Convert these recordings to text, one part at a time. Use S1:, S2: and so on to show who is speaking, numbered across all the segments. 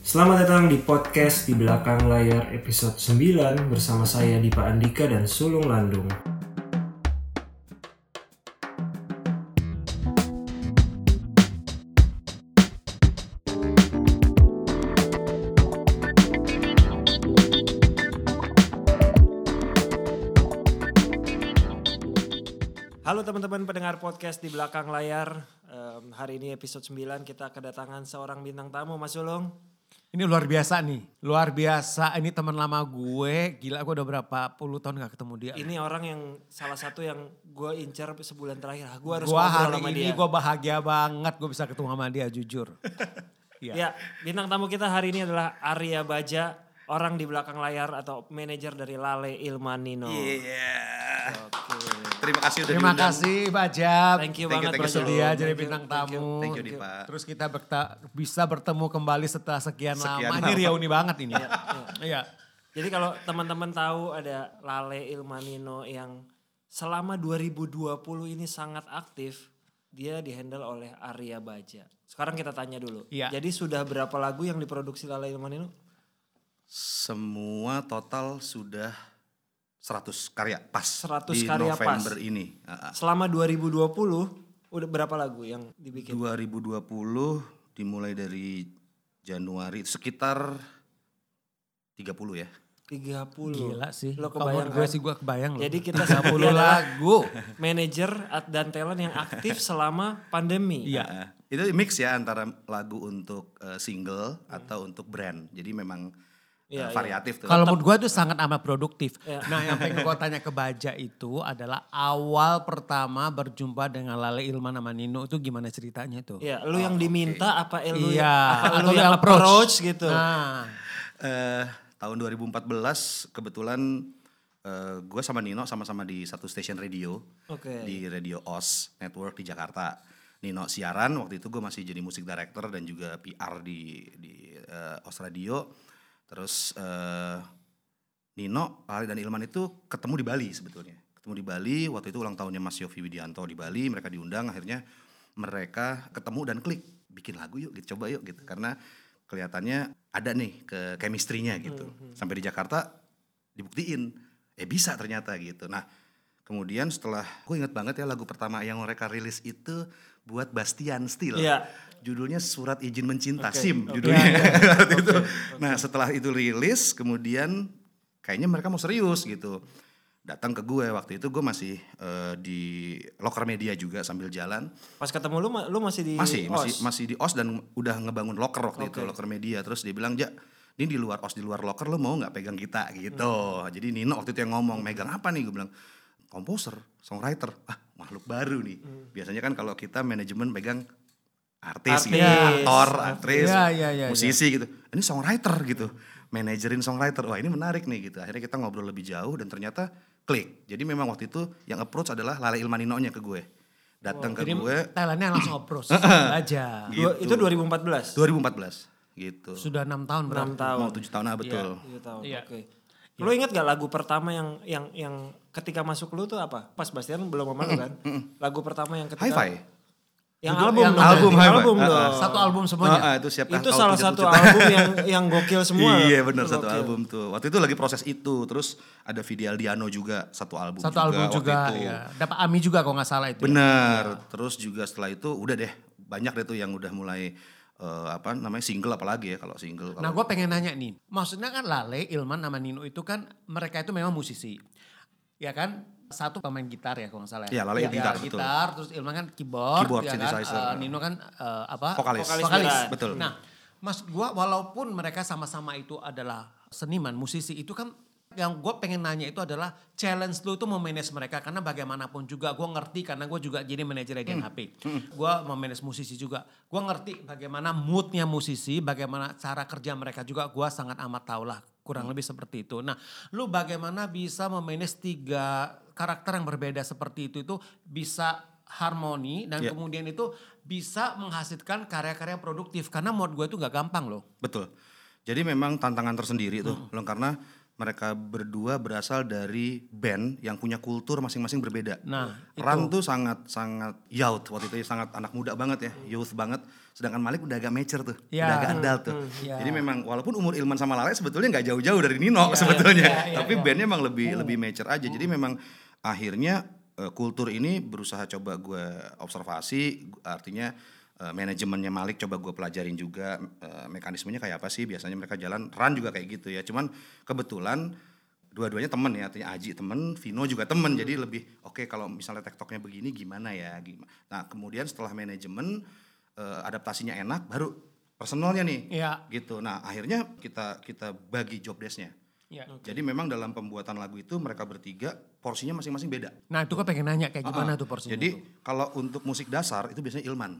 S1: Selamat datang di podcast di belakang layar episode 9 bersama saya Dipa Andika dan Sulung Landung. Halo teman-teman pendengar podcast di belakang layar. Em, hari ini episode 9 kita kedatangan seorang bintang tamu Mas Sulung.
S2: Ini luar biasa nih, luar biasa. Ini teman lama gue, gila gue udah berapa puluh tahun gak ketemu dia.
S1: Ini orang yang salah satu yang gue incar sebulan terakhir. Ah, Gue harus
S2: Gue
S1: ngobrol
S2: hari
S1: sama
S2: ini
S1: dia.
S2: gue bahagia banget gue bisa ketemu sama dia jujur. Iya.
S1: Ya, bintang tamu kita hari ini adalah Arya Baja, orang di belakang layar atau manajer dari Lale Ilmanino.
S3: Iya. Terima kasih udah
S2: Terima
S3: diundang.
S2: kasih Bajab.
S1: Thank you
S3: Thank you,
S1: banget
S3: thank you,
S1: Bro.
S2: Bersedia
S1: Thank
S2: jadi
S1: you,
S2: bintang
S1: thank you.
S2: tamu.
S3: Thank you, Dipa.
S2: Terus kita berta- bisa bertemu kembali setelah sekian,
S3: Sekian
S2: lama. Ini
S3: lama.
S2: reuni banget ini. Iya.
S1: Jadi kalau teman-teman tahu ada Lale Ilmanino yang selama 2020 ini sangat aktif, dia dihandle oleh Arya Baja. Sekarang kita tanya dulu.
S2: Iya.
S1: Jadi sudah berapa lagu yang diproduksi Lale Ilmanino?
S3: Semua total sudah 100 karya pas
S1: 100
S3: di
S1: karya pas.
S3: November ini. Ah, ah.
S1: Selama 2020 udah berapa lagu yang dibikin?
S3: 2020 dimulai dari Januari sekitar 30 ya.
S1: 30.
S2: Gila sih.
S1: Lo
S2: Kalau
S1: kebayang
S2: gue
S1: kan?
S2: sih gue kebayang loh.
S1: Jadi kita
S2: 30
S1: sebenarnya adalah
S2: lagu.
S1: manajer at- dan talent yang aktif selama pandemi.
S2: Iya.
S3: Ah, ah. Itu mix ya antara lagu untuk eh, single atau untuk brand. Jadi memang eh,
S1: Iya, iya.
S3: variatif tuh.
S2: Kalau menurut gue itu sangat amat produktif.
S1: Iya.
S2: Nah yang pengen gue tanya ke Baja itu adalah awal pertama berjumpa dengan Lale Ilman sama Nino itu gimana ceritanya tuh?
S1: Ya, lu yang diminta apa eh, lu
S2: Oh, Iya,
S1: apa lu
S2: atau
S1: yang
S2: yang approach.
S1: gitu.
S2: Nah,
S3: Eh, tahun 2014 kebetulan gue sama Nino sama-sama di satu stasiun radio
S1: Oke.
S3: di Radio OS Network di Jakarta. Nino siaran waktu itu gue masih jadi musik director dan juga PR di di eh, OS Radio. Terus eh, Nino, Ari dan Ilman itu ketemu di Bali sebetulnya. Ketemu di Bali waktu itu ulang tahunnya Mas Yofi Widianto di Bali, mereka diundang akhirnya mereka ketemu dan klik bikin lagu yuk, gitu, coba yuk gitu karena kelihatannya ada nih ke chemistry-nya gitu.
S1: Hmm,
S3: Sampai di Jakarta dibuktiin eh bisa ternyata gitu. Nah, kemudian setelah gue inget banget ya lagu pertama yang mereka rilis itu buat Bastian Steel.
S1: Iya.
S3: Judulnya Surat Izin Mencinta
S1: Oke,
S3: SIM
S1: oke.
S3: judulnya.
S1: Iya, iya.
S3: Waktu itu.
S1: Oke,
S3: Nah setelah itu rilis kemudian kayaknya mereka mau serius gitu. Datang ke gue waktu itu gue masih eh, di loker media juga sambil jalan.
S1: Pas ketemu lu ma- lu masih di
S3: Masih masih
S1: OS?
S3: masih di OS dan udah ngebangun loker waktu itu
S1: Oke.
S3: loker media. Terus dia bilang ja ini di luar OS di luar loker lo mau nggak pegang kita
S2: Hmm.
S3: gitu. Jadi Nino waktu itu yang ngomong megang apa nih gue bilang komposer, songwriter, ah makhluk baru nih.
S2: Hmm.
S3: Biasanya kan kalau kita manajemen pegang artis, gitu,
S1: Artis.
S3: aktor, aktris,
S2: Iya, iya, iya,
S3: musisi gitu. Ini songwriter gitu, manajerin songwriter. Wah ini menarik nih gitu. Akhirnya kita ngobrol lebih jauh dan ternyata klik. Jadi memang waktu itu yang approach adalah Lale Ilmaninonya ke gue. Datang ke
S2: Oh, jadi
S3: gue
S2: Thailandnya langsung approach Baja.
S1: Dua- itu
S3: gitu.
S1: 2014.
S3: 2014 gitu.
S2: Sudah enam tahun berarti.
S1: 6 tahun.
S3: Mau tujuh tahun ah betul.
S1: Tujuh tahun.
S2: Iya.
S1: Gitu. Oke. Lu inget gak lagu pertama yang yang yang ketika masuk lu tuh apa? Pas Bastian belum sama lu kan? Lagu pertama yang ketika
S3: Hi-Fi.
S1: Yang
S2: Itu
S1: album
S2: yang
S1: dong.
S3: album,
S1: berarti.
S3: hi-fi.
S1: album
S3: Ah,
S1: dong.
S3: ah.
S2: Satu album semuanya.
S3: Ah, ah, itu siapkah
S1: itu
S3: kau
S1: salah
S3: tidak
S1: satu
S3: tujuh tahun?
S1: album yang yang gokil semua.
S3: Iya benar
S1: Itu
S3: satu
S1: gokil.
S3: album tuh. Waktu itu lagi proses itu. Terus ada Vidi Aldiano juga satu album
S2: Satu
S3: juga
S2: album
S3: waktu
S2: juga.
S3: itu.
S1: iya.
S2: ya. Dapat Ami juga kalau nggak salah itu. ya.
S3: Benar. Terus juga setelah itu udah deh banyak deh tuh yang udah mulai eh, apa namanya single apalagi ya kalau single
S2: Nah gue
S3: kalau
S2: pengen nanya nih, maksudnya kan Lale, Ilman sama Nino itu kan mereka itu memang musisi. Ya kan, satu pemain gitar ya kalau nggak salah
S3: Iya, Lale gitar, betul.
S2: gitar, terus Ilman kan keyboard,
S3: Keyboard,
S2: ya kan,
S3: synthesizer.
S2: eh, Nino kan eh, apa?
S3: Vokalis.
S1: Vokalis beneran.
S3: Betul.
S2: Nah, maksud gue walaupun mereka sama-sama itu adalah seniman, musisi itu kan yang gue pengen nanya itu adalah challenge lu itu memanage mereka karena bagaimanapun juga gue ngerti karena gue juga jadi manajer di HP
S3: Hmm.
S2: gue memanage musisi juga gue ngerti bagaimana moodnya musisi bagaimana cara kerja mereka juga gue sangat amat tahu lah kurang lebih seperti itu nah lu bagaimana bisa memanage tiga karakter yang berbeda seperti itu itu bisa harmoni dan
S3: Iya.
S2: kemudian itu bisa menghasilkan karya-karya produktif karena menurut gue itu nggak gampang loh
S1: Hmm.
S3: Betul. Jadi memang tantangan tersendiri tuh, Long, karena mereka berdua berasal dari band yang punya kultur masing-masing berbeda.
S2: Nah,
S3: Ran tuh sangat sangat youth waktu itu ya, sangat anak muda banget ya, youth banget. Sedangkan Malik udah agak mature tuh,
S2: Ya.
S3: udah agak adult tuh.
S2: ya.
S3: Jadi memang walaupun umur Ilman sama Lale sebetulnya nggak jauh-jauh dari Nino sebetulnya,
S2: ya, ya, ya.
S3: tapi bandnya emang lebih lebih mature aja. Jadi memang akhirnya eh, kultur ini berusaha coba gue observasi, artinya eh, manajemennya Malik coba gue pelajarin juga eh, mekanismenya kayak apa sih biasanya mereka jalan run juga kayak gitu ya. Cuman kebetulan dua-duanya temen ya artinya Aji temen, Vino juga temen jadi lebih oke kalau misalnya tektoknya begini gimana ya gimana. Nah kemudian setelah manajemen eh, adaptasinya enak baru personalnya nih
S2: Iya.
S3: gitu. Nah akhirnya kita kita bagi job desk-nya.
S2: Iya.
S3: Jadi memang dalam pembuatan lagu itu mereka bertiga porsinya masing-masing beda.
S2: Nah, itu gue pengen nanya kayak gimana tuh porsinya.
S3: Ah, Jadi
S2: tuh?
S3: kalau untuk musik dasar itu biasanya Ilman.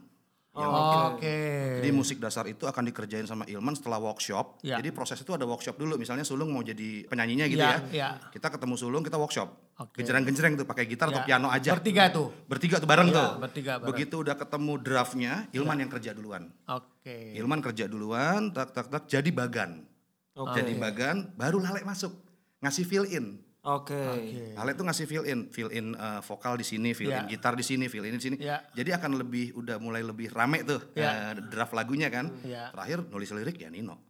S3: Ya,
S2: Oh, oke.
S3: Jadi musik dasar itu akan dikerjain sama Ilman setelah workshop.
S2: Ya.
S3: Jadi proses itu ada workshop dulu. Misalnya Sulung mau jadi penyanyinya gitu
S2: Ya,
S3: ya.
S2: ya.
S3: Kita ketemu Sulung, kita workshop.
S2: Oke.
S3: Genjereng-genjereng tuh pakai gitar
S2: Ya.
S3: atau piano aja.
S2: Bertiga tuh.
S3: Bertiga tuh bareng
S2: Ya,
S3: tuh.
S2: bertiga bareng. Ya.
S3: Begitu udah ketemu draftnya, Ilman yang kerja duluan.
S2: Oke.
S3: Ilman kerja duluan, tak tak tak jadi bagan.
S1: Oke.
S3: Jadi bagan, baru Lalek masuk ngasih fill in.
S1: Oke.
S3: Ale tuh ngasih fill in, fill in eh, vokal di sini, fill
S2: Ya.
S3: in gitar di sini, fill in di sini.
S2: Ya.
S3: Jadi akan lebih udah mulai lebih rame tuh
S2: Ya.
S3: eh, draft lagunya kan.
S2: Ya.
S3: Terakhir nulis lirik ya Nino.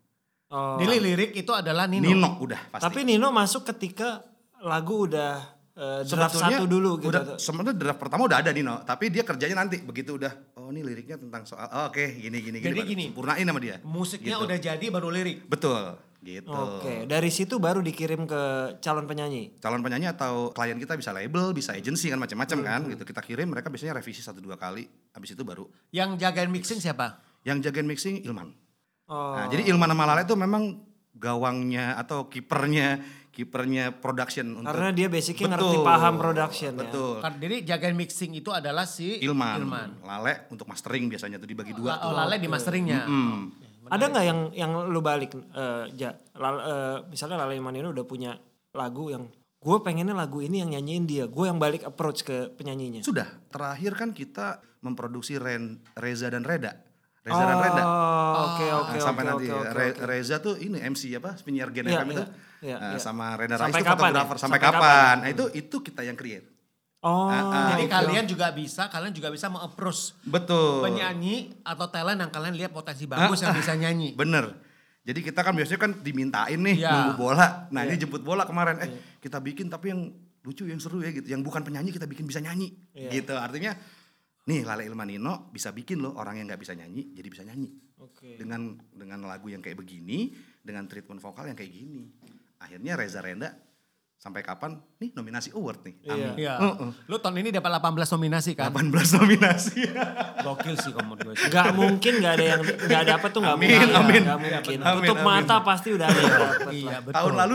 S1: Oh.
S2: Jadi lirik itu adalah Nino.
S3: Nino, udah pasti.
S1: Tapi Nino masuk ketika lagu udah eh, draft satu dulu gitu.
S3: Udah, sebenarnya draft pertama udah ada Nino, tapi dia kerjanya nanti begitu udah. Oh ini liriknya tentang soal. oh, Oke, gini gini
S2: Jadi
S3: gini. Baru
S2: gini.
S3: Sempurnain sama dia.
S2: Musiknya
S3: Gitu.
S2: udah jadi baru lirik.
S3: Betul, gitu.
S1: Oke, dari situ baru dikirim ke calon penyanyi.
S3: calon penyanyi atau klien kita bisa label, bisa agensi kan macam-macam
S1: Hmm.
S3: kan gitu. Kita kirim mereka biasanya revisi satu dua kali, habis itu baru
S2: Yang jagain mixing siapa?
S3: yang jagain mixing Ilman.
S1: Oh.
S3: Nah, jadi Ilman sama Lala itu memang gawangnya atau kipernya kipernya production untuk
S1: Karena dia basicnya ngerti paham production ya.
S3: Betul.
S2: Kar- Jadi jagain mixing itu adalah si
S3: Ilman. Lale untuk mastering biasanya tuh dibagi dua
S2: Oh,
S3: tuh.
S2: Lale di masteringnya.
S3: Hmm.
S1: Ada nggak yang yang lu balik eh, ja, Lal- eh, misalnya Lale Manino udah punya lagu yang gue pengennya lagu ini yang nyanyiin dia, gue yang balik approach ke penyanyinya.
S3: Sudah, terakhir kan kita memproduksi Ren, Reza dan Reda. Reza dan Reda.
S1: Oh, Oke
S3: Nah,
S1: oke
S3: sampai
S1: oke
S3: nanti
S1: oke, Ah,
S3: Re-
S1: oke.
S3: Reza tuh ini MC apa penyiar Gen
S1: Iya,
S3: FM
S1: iya,
S3: itu
S1: iya,
S3: Nah,
S1: iya.
S3: sama Rena Rais
S1: Sampai
S3: itu
S1: kapan ya?
S3: fotografer sampai,
S1: Sampai
S3: kapan,
S1: kapan? Hmm.
S3: Nah, itu itu kita yang create
S1: Oh.
S2: Jadi
S1: oke,
S2: kalian juga bisa, kalian juga bisa mengapproach
S3: betul
S2: penyanyi atau talent yang kalian lihat potensi bagus
S3: Ah,
S2: yang bisa nyanyi.
S3: bener jadi kita kan biasanya kan dimintain nih
S2: Iya.
S3: nunggu bola nah ini jemput bola kemarin eh kita bikin tapi yang lucu yang seru ya gitu yang bukan penyanyi kita bikin bisa nyanyi
S2: Iya.
S3: gitu artinya nih Lale Ilmanino bisa bikin loh orang yang nggak bisa nyanyi jadi bisa nyanyi
S1: Oke.
S2: Iya.
S3: dengan dengan lagu yang kayak begini dengan treatment vokal yang kayak gini akhirnya Reza Renda sampai kapan nih nominasi award nih Amin.
S2: Iya.
S3: Heeh.
S2: Lu tahun ini dapat 18 nominasi kan?
S3: 18 nominasi
S2: Gokil sih kamu gue.
S1: Gak mungkin gak ada yang gak dapat tuh gak
S3: Amin,
S1: mungkin.
S3: amin.
S1: Gak mungkin.
S3: Amin,
S1: Tutup
S3: amin.
S1: mata pasti udah ada yang dapat lah.
S2: Iya, betul.
S3: tahun lalu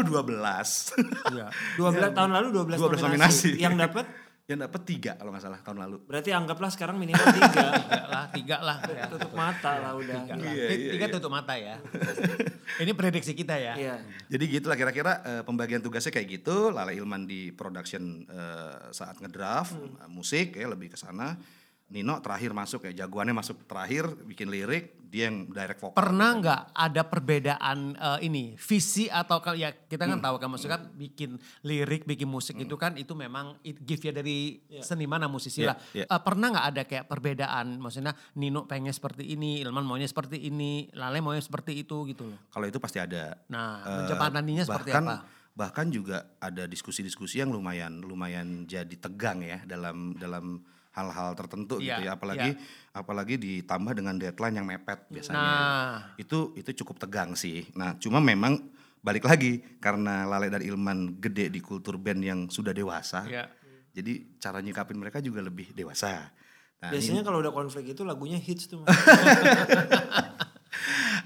S3: 12
S2: Iya.
S1: 12 tahun lalu 12,
S3: 12
S1: nominasi.
S3: nominasi.
S1: Yang dapat
S3: yang dapat tiga kalau nggak salah tahun lalu
S1: berarti anggaplah sekarang minimal 3.
S2: Tiga lah, tiga lah.
S3: Iya.
S2: ya.
S1: Tutup mata lah udah.
S2: Tiga, lah. Tiga tutup mata ya. Ini prediksi kita ya.
S1: Iya.
S3: Jadi gitulah kira-kira eh, pembagian tugasnya kayak gitu. Lala Ilman di production eh, saat ngedraft
S2: Hmm.
S3: eh, musik ya lebih ke sana. Nino terakhir masuk ya jagoannya masuk terakhir bikin lirik dia yang direct vokal.
S2: Pernah nggak ada perbedaan eh, ini visi atau kalau ya kita
S3: Hmm.
S2: kan tahu kan maksudnya kan bikin lirik, bikin musik itu kan itu memang it give ya dari seniman dan musisi lah.
S3: Iya, iya.
S2: Eh, pernah nggak ada kayak perbedaan maksudnya Nino pengen seperti ini, Ilman maunya seperti ini, Lale maunya seperti itu gitu loh.
S3: Kalau itu pasti ada.
S2: Nah,
S3: Eh,
S2: menjembataninya seperti
S3: bahkan,
S2: apa?
S3: Bahkan juga ada diskusi-diskusi yang lumayan lumayan jadi tegang ya dalam dalam hal-hal tertentu gitu
S2: Iya,
S3: ya apalagi apalagi ditambah dengan deadline yang mepet biasanya.
S2: Nah.
S3: Itu itu cukup tegang sih. Nah, cuma memang balik lagi karena Lale dan Ilman gede di kultur band yang sudah dewasa.
S2: Iya.
S3: Jadi cara nyikapin mereka juga lebih dewasa. Nah, ini-
S1: Biasanya kalau udah konflik itu lagunya hits tuh. Mas.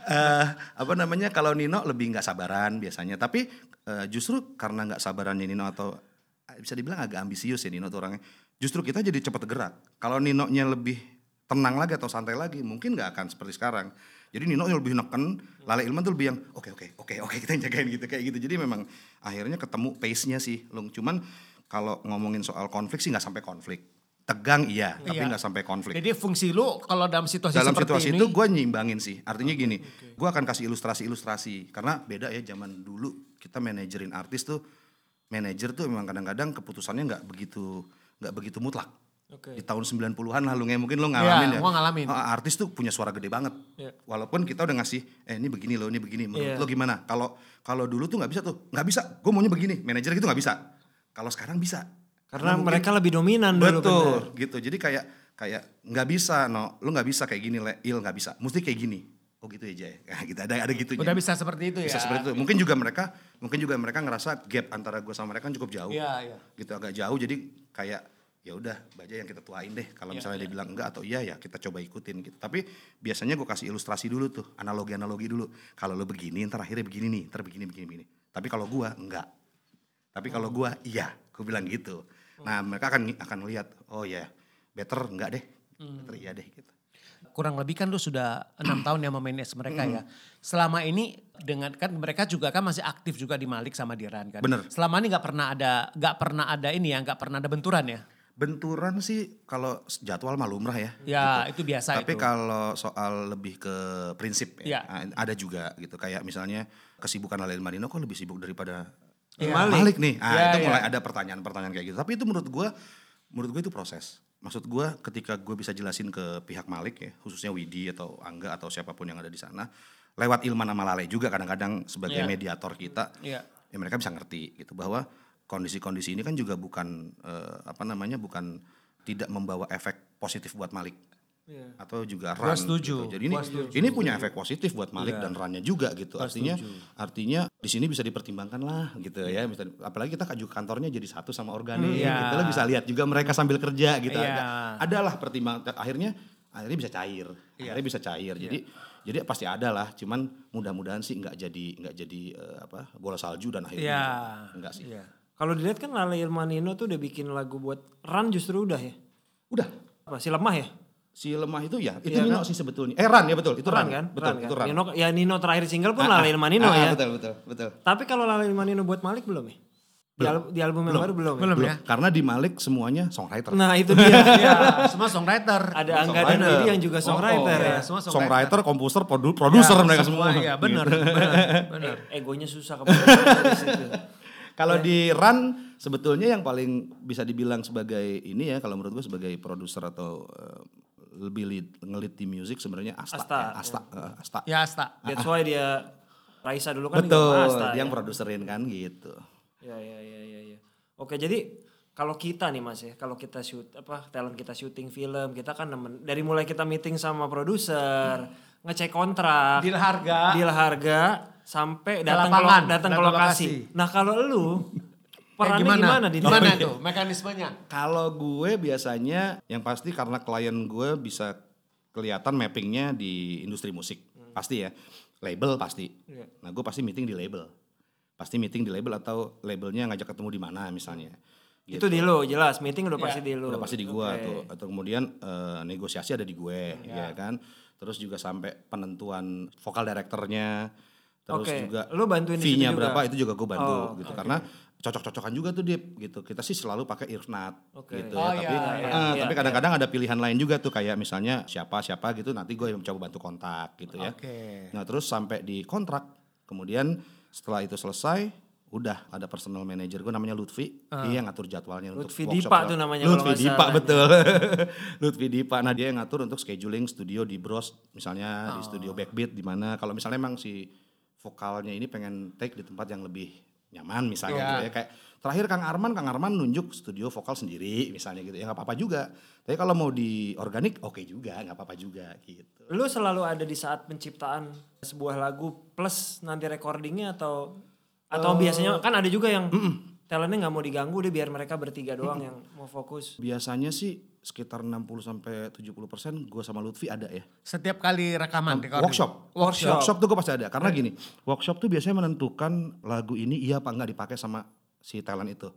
S3: eh apa namanya kalau Nino lebih nggak sabaran biasanya tapi eh, justru karena nggak sabarannya Nino atau eh, bisa dibilang agak ambisius ya Nino tuh orangnya justru kita jadi cepat gerak kalau Nino nya lebih tenang lagi atau santai lagi mungkin nggak akan seperti sekarang jadi Nino yang lebih neken Lale Ilman tuh lebih yang oke oke oke oke kita yang jagain gitu kayak gitu jadi memang akhirnya ketemu pace nya sih Lung cuman kalau ngomongin soal konflik sih nggak sampai konflik tegang iya
S2: Iya.
S3: tapi nggak sampai konflik
S2: Jadi fungsi lu kalau dalam situasi
S3: dalam
S2: seperti
S3: situasi
S2: ini
S3: itu gue nyimbangin sih artinya gini gue akan kasih ilustrasi-ilustrasi karena beda ya zaman dulu kita manajerin artis tuh manajer tuh memang kadang-kadang keputusannya nggak begitu nggak begitu mutlak
S1: Oke.
S3: di tahun 90-an lah lu nge- mungkin lu ngalamin
S2: Iya,
S3: ya.
S2: gua ngalamin.
S3: Ah, artis tuh punya suara gede banget.
S1: Iya.
S3: Walaupun kita udah ngasih eh ini begini loh, ini begini.
S1: Iya.
S3: Menurut lo gimana? Kalau kalau dulu tuh nggak bisa tuh. nggak bisa. Gue maunya begini. Manajer gitu nggak bisa. Kalau sekarang bisa.
S1: Karena
S3: mungkin-
S1: mereka lebih dominan dulu. kan.
S3: betul
S1: bener.
S3: gitu. Jadi kayak kayak nggak bisa, no. Lu nggak bisa kayak gini, Le. Il nggak bisa. Mesti kayak gini. Oh gitu aja ya. Nah, gitu ada ada gitunya.
S2: Udah bisa seperti itu ya.
S3: Bisa seperti itu. Mungkin juga mereka mungkin juga mereka ngerasa gap antara gue sama mereka kan cukup jauh
S2: Iya, iya.
S3: gitu agak jauh jadi kayak ya udah baja yang kita tuain deh kalau misalnya dia bilang enggak atau iya ya kita coba ikutin gitu tapi biasanya gue kasih ilustrasi dulu tuh analogi analogi dulu kalau lo begini ntar akhirnya begini nih ntar begini begini begini tapi kalau gua enggak tapi kalau gua iya gue bilang gitu nah mereka akan akan lihat oh ya better enggak deh better iya deh gitu
S2: kurang lebih kan lu sudah enam tahun yang memanage mereka ya. Selama ini dengan kan mereka juga kan masih aktif juga di Malik sama di Ran kan.
S3: Bener.
S2: Selama ini nggak pernah ada nggak pernah ada ini ya nggak pernah ada benturan ya.
S3: benturan sih kalau jadwal mah lumrah ya
S2: Ya itu biasa
S3: Tapi
S2: itu.
S3: kalau soal lebih ke prinsip
S2: Iya.
S3: ya, a- ada juga gitu. Kayak misalnya kesibukan Lail Marino kok lebih sibuk daripada
S1: Iya.
S3: eh,
S1: Malik.
S3: Malik. nih. Ah,
S2: Iya,
S3: itu
S2: iya.
S3: mulai ada pertanyaan-pertanyaan kayak gitu. Tapi itu menurut gua menurut gue itu proses. Maksud gua ketika gue bisa jelasin ke pihak Malik ya, khususnya Widi atau Angga atau siapapun yang ada di sana, lewat Ilman sama Lale juga kadang-kadang
S2: Iya.
S3: sebagai mediator kita
S2: Iya.
S3: ya mereka bisa ngerti gitu bahwa kondisi-kondisi ini kan juga bukan eh, apa namanya bukan tidak membawa efek positif buat Malik
S1: Iya.
S3: atau juga
S2: Gua
S3: run
S2: setuju,
S3: gitu. Jadi ini
S2: gua setuju. Iya.
S3: ini punya efek positif buat Malik dan runnya juga gitu.
S2: Gua
S3: artinya
S2: setuju.
S3: artinya di sini bisa dipertimbangkan lah gitu ya. Misal- Apalagi kita kaju kantornya jadi satu sama organik.
S2: Iya.
S3: Kita lah bisa lihat juga mereka sambil kerja gitu.
S2: Iya.
S3: Ada adalah pertimbangan akhirnya akhirnya bisa cair. Akhirnya bisa cair. Jadi jadi pasti ada lah. Cuman mudah-mudahan sih nggak jadi nggak jadi eh, apa bola salju dan akhirnya
S2: Iya.
S3: enggak sih.
S2: Iya.
S1: Kalau dilihat kan Lale Ilmanino tuh udah bikin lagu buat Run justru udah ya.
S3: Udah
S1: Apa si lemah ya?
S3: si lemah itu ya itu Nino sih sebetulnya. Eh Ran ya betul itu Ran,
S1: Run kan?
S3: betul
S1: Run kan?
S3: itu Ran.
S1: Nino, ya Nino terakhir single pun
S3: Ah,
S1: Lale Ilmanino
S3: ah,
S1: ya.
S3: Betul betul betul.
S1: Tapi kalau Lale Ilmanino buat Malik belum ya? Di, al- di album yang baru belum, ya?
S2: Belum.
S3: Belum,
S2: ya?
S3: Karena di Malik semuanya songwriter.
S1: Nah itu dia.
S2: Iya, semua songwriter. Ya,
S1: Ada Angga dan
S3: songwriter. Oh,
S1: Widi yang juga songwriter
S2: Iya,
S1: ya.
S2: semua songwriter.
S3: songwriter, komposer, produ- produser
S2: Ya,
S3: mereka semua. Gitu.
S2: Iya benar. benar, benar.
S1: eh, Egonya susah kebanyakan di situ.
S3: Kalau
S1: Iya.
S3: di Run sebetulnya yang paling bisa dibilang sebagai ini ya kalau menurut gue sebagai produser atau eh, lebih lead, ngelit di music sebenarnya Asta.
S1: Asta,
S3: ya, Asta, eh, Asta.
S2: Ya Asta.
S1: That's why dia Raisa dulu kan
S3: Betul,
S1: juga Asta,
S3: dia yang
S1: ya.
S3: produserin kan gitu.
S1: Ya ya ya ya ya. Oke, jadi kalau kita nih Mas ya, kalau kita shoot apa talent kita syuting film, kita kan nemen, dari mulai kita meeting sama produser, ngecek kontrak,
S2: Deal harga.
S1: deal harga sampai
S2: Ke
S1: datang ke,
S2: lapangan,
S1: lo- datang ke
S2: datang ke
S1: lokasi.
S2: lokasi. Eh,
S1: Nah, kalau lu perannya
S2: gimana?
S1: gimana, di
S2: Gimana
S1: dalam?
S2: tuh mekanismenya?
S3: Kalau gue biasanya yang pasti karena klien gue bisa kelihatan mappingnya di industri musik pasti ya label pasti.
S1: Hmm. Iya.
S3: Nah gue pasti meeting di label, pasti meeting di label atau labelnya ngajak ketemu di mana misalnya. Gitu.
S1: Itu di lu jelas, meeting udah pasti
S2: Iya.
S1: di lu.
S3: Udah pasti di gue
S1: Oke.
S3: tuh atau kemudian eh, negosiasi ada di gue ya kan. Terus juga sampai penentuan vokal directornya terus
S1: Oke,
S3: juga
S1: lu bantuin di situ
S3: fee-nya
S1: juga?
S3: berapa itu juga gue bantu
S1: Oh,
S3: gitu karena cocok-cocokan juga tuh Dip gitu. Kita sih selalu pakai Irnat
S1: Oke.
S3: gitu
S2: Oh, iya,
S3: ya tapi
S1: iya,
S3: eh,
S1: iya,
S3: tapi
S1: iya.
S3: kadang-kadang ada pilihan lain juga tuh kayak misalnya siapa siapa gitu nanti gue yang coba bantu kontak gitu ya.
S2: Oke.
S3: Nah, terus sampai di kontrak kemudian setelah itu selesai udah ada personal manager gue namanya Lutfi dia yang ngatur jadwalnya
S1: Ah. Lutfi
S3: untuk
S1: Dipa
S3: workshop. ya.
S1: tuh namanya kalau
S3: Lutfi
S1: nggak
S3: Dipa
S1: salah. Iya.
S3: betul Lutfi Dipa nah dia yang ngatur untuk scheduling studio di Bros misalnya di
S1: Oh.
S3: studio Backbeat di mana kalau misalnya emang si vokalnya ini pengen take di tempat yang lebih nyaman misalnya
S2: Iya.
S3: gitu ya kayak terakhir Kang Arman Kang Arman nunjuk studio vokal sendiri misalnya gitu ya nggak apa-apa juga tapi kalau mau di organik oke juga nggak apa-apa juga gitu
S1: Lu selalu ada di saat penciptaan sebuah lagu plus nanti recordingnya atau atau
S2: Eh,
S1: biasanya kan ada juga yang talentnya nggak mau diganggu deh biar mereka bertiga doang yang mau fokus.
S3: biasanya sih sekitar 60 sampai 70 persen gue sama Lutfi ada ya
S2: Setiap kali rekaman recording.
S3: workshop.
S2: Workshop. Eh.
S3: Workshop tuh gue pasti ada karena gini, workshop tuh biasanya menentukan lagu ini iya apa enggak dipakai sama si talent itu.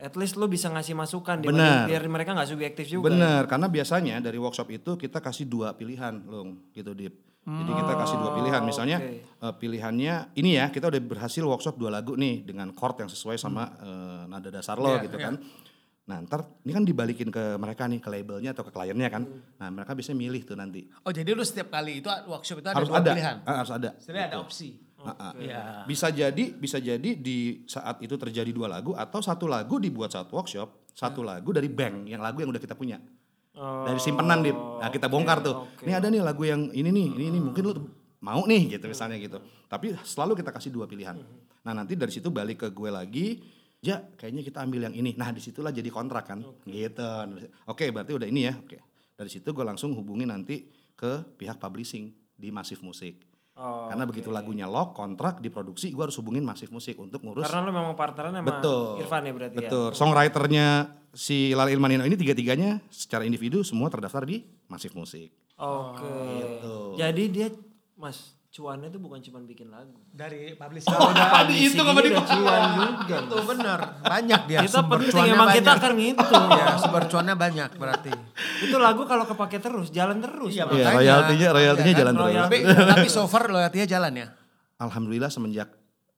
S1: At least lu bisa ngasih masukan
S3: Bener.
S1: dibanding- biar mereka nggak subjektif
S2: ya.
S1: juga.
S3: Bener, karena biasanya dari workshop itu kita kasih dua pilihan, Lung, gitu Dip. Jadi kita kasih
S2: Hmm,
S3: dua pilihan, misalnya
S1: oke.
S3: eh, pilihannya ini ya, kita udah berhasil workshop dua lagu nih dengan chord yang sesuai sama eh, nada dasar lo
S2: Hmm. Iya,
S3: gitu
S2: iya.
S3: kan. Nah ntar ini kan dibalikin ke mereka nih, ke labelnya atau ke kliennya kan.
S2: Hmm.
S3: Nah mereka bisa milih tuh nanti.
S2: Oh jadi lu setiap kali itu workshop itu ada
S3: harus
S2: dua
S3: ada,
S2: pilihan.
S3: Ah, harus ada.
S2: Sebenarnya ada
S3: Gitu.
S2: opsi.
S3: Ha-ha.
S2: Iya.
S3: Bisa jadi, bisa jadi di saat itu terjadi dua lagu atau satu lagu dibuat saat workshop, satu
S2: Ah.
S3: lagu dari bank yang lagu yang udah kita punya.
S1: Oh,
S3: Dari simpenan Dit.
S2: Oh,
S3: Nah, kita bongkar tuh. Ini ada nih lagu yang ini nih, ini
S2: Ah.
S3: nih mungkin lu mau nih
S2: Hmm.
S3: gitu misalnya gitu. Tapi selalu kita kasih dua pilihan. Nah, nanti dari situ balik ke gue lagi, ya kayaknya kita ambil yang ini. Nah, disitulah jadi kontrak kan. Gitu. Oke, berarti udah ini ya. Oke. Dari situ gue langsung hubungi nanti ke pihak publishing di Masif Musik.
S1: Oh,
S3: Karena begitu lagunya lock, kontrak, diproduksi, gue harus hubungin Masif Musik untuk ngurus.
S1: Karena lu memang partneran sama
S3: betul.
S1: Irfan ya berarti ya.
S3: Betul. Songwriternya si Lal Ilmanino ini tiga-tiganya secara individu semua terdaftar di Masif Musik.
S1: Oke.
S2: Gitu.
S1: Jadi dia Mas cuannya tuh bukan cuma bikin lagu.
S2: Dari publish
S1: Tadi itu kamu di cuan juga.
S2: itu benar. Banyak dia.
S1: Kita
S2: Ya, sumber
S1: penting
S2: cuannya
S1: emang kita
S2: banyak.
S1: akan ngitung.
S2: Ya, sumber cuannya banyak berarti.
S1: Itu lagu kalau kepake terus, jalan terus.
S2: Iya,
S1: Bang.
S3: Iya,
S2: Makanya, kan,
S3: royaltinya- royaltinya jalan terus.
S2: Tapi, tapi so far royaltinya jalan ya.
S3: Alhamdulillah semenjak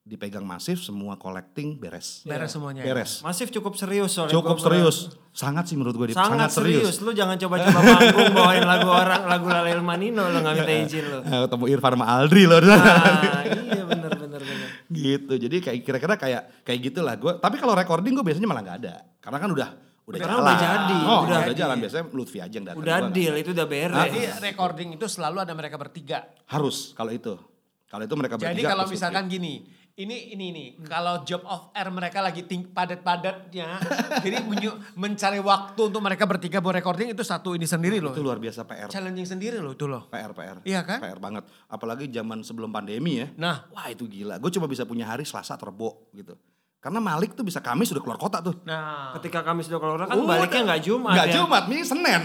S3: dipegang Masif semua collecting beres.
S2: Beres semuanya. ya?
S3: Beres.
S1: Masif cukup serius soalnya.
S3: Cukup
S1: gua-
S3: serius. Sangat sih menurut gue
S1: Sangat, serius. Lu jangan coba-coba manggung bawain lagu orang, lagu Lalel Manino lu nggak minta izin lu.
S3: Eh, Ketemu Irfan sama Aldri loh.
S1: Nah, iya bener bener bener.
S3: gitu. Jadi kayak kira-kira kayak kayak gitulah gue. Tapi kalau recording gue biasanya malah nggak ada. Karena kan udah udah
S1: Karena
S3: jalan.
S1: udah jadi,
S3: Oh,
S1: udah
S3: udah, jalan biasanya Lutfi aja yang datang.
S1: Udah
S3: gua nggak-
S1: deal itu udah beres.
S3: Ah,
S2: Jadi
S3: iya.
S2: recording itu selalu ada mereka bertiga.
S3: Harus kalau itu. Kalau itu mereka
S2: Jadi
S3: bertiga,
S2: kalau
S3: terus
S2: misalkan gini, ini ini nih, kalau job of air mereka lagi ting padat-padatnya, jadi menyu- mencari waktu untuk mereka bertiga buat recording itu satu ini sendiri loh.
S3: itu luar biasa PR.
S2: Challenging sendiri loh itu loh.
S3: PR PR.
S2: Iya kan?
S3: PR banget. Apalagi zaman sebelum pandemi ya.
S2: Nah.
S3: wah itu gila. Gue cuma bisa punya hari Selasa terbo gitu. Karena Malik tuh bisa Kamis sudah keluar kota tuh.
S2: Nah,
S1: Ketika kami sudah keluar kan baliknya nggak Jumat
S3: Nggak
S1: ya.
S3: Jumat, ini Senin.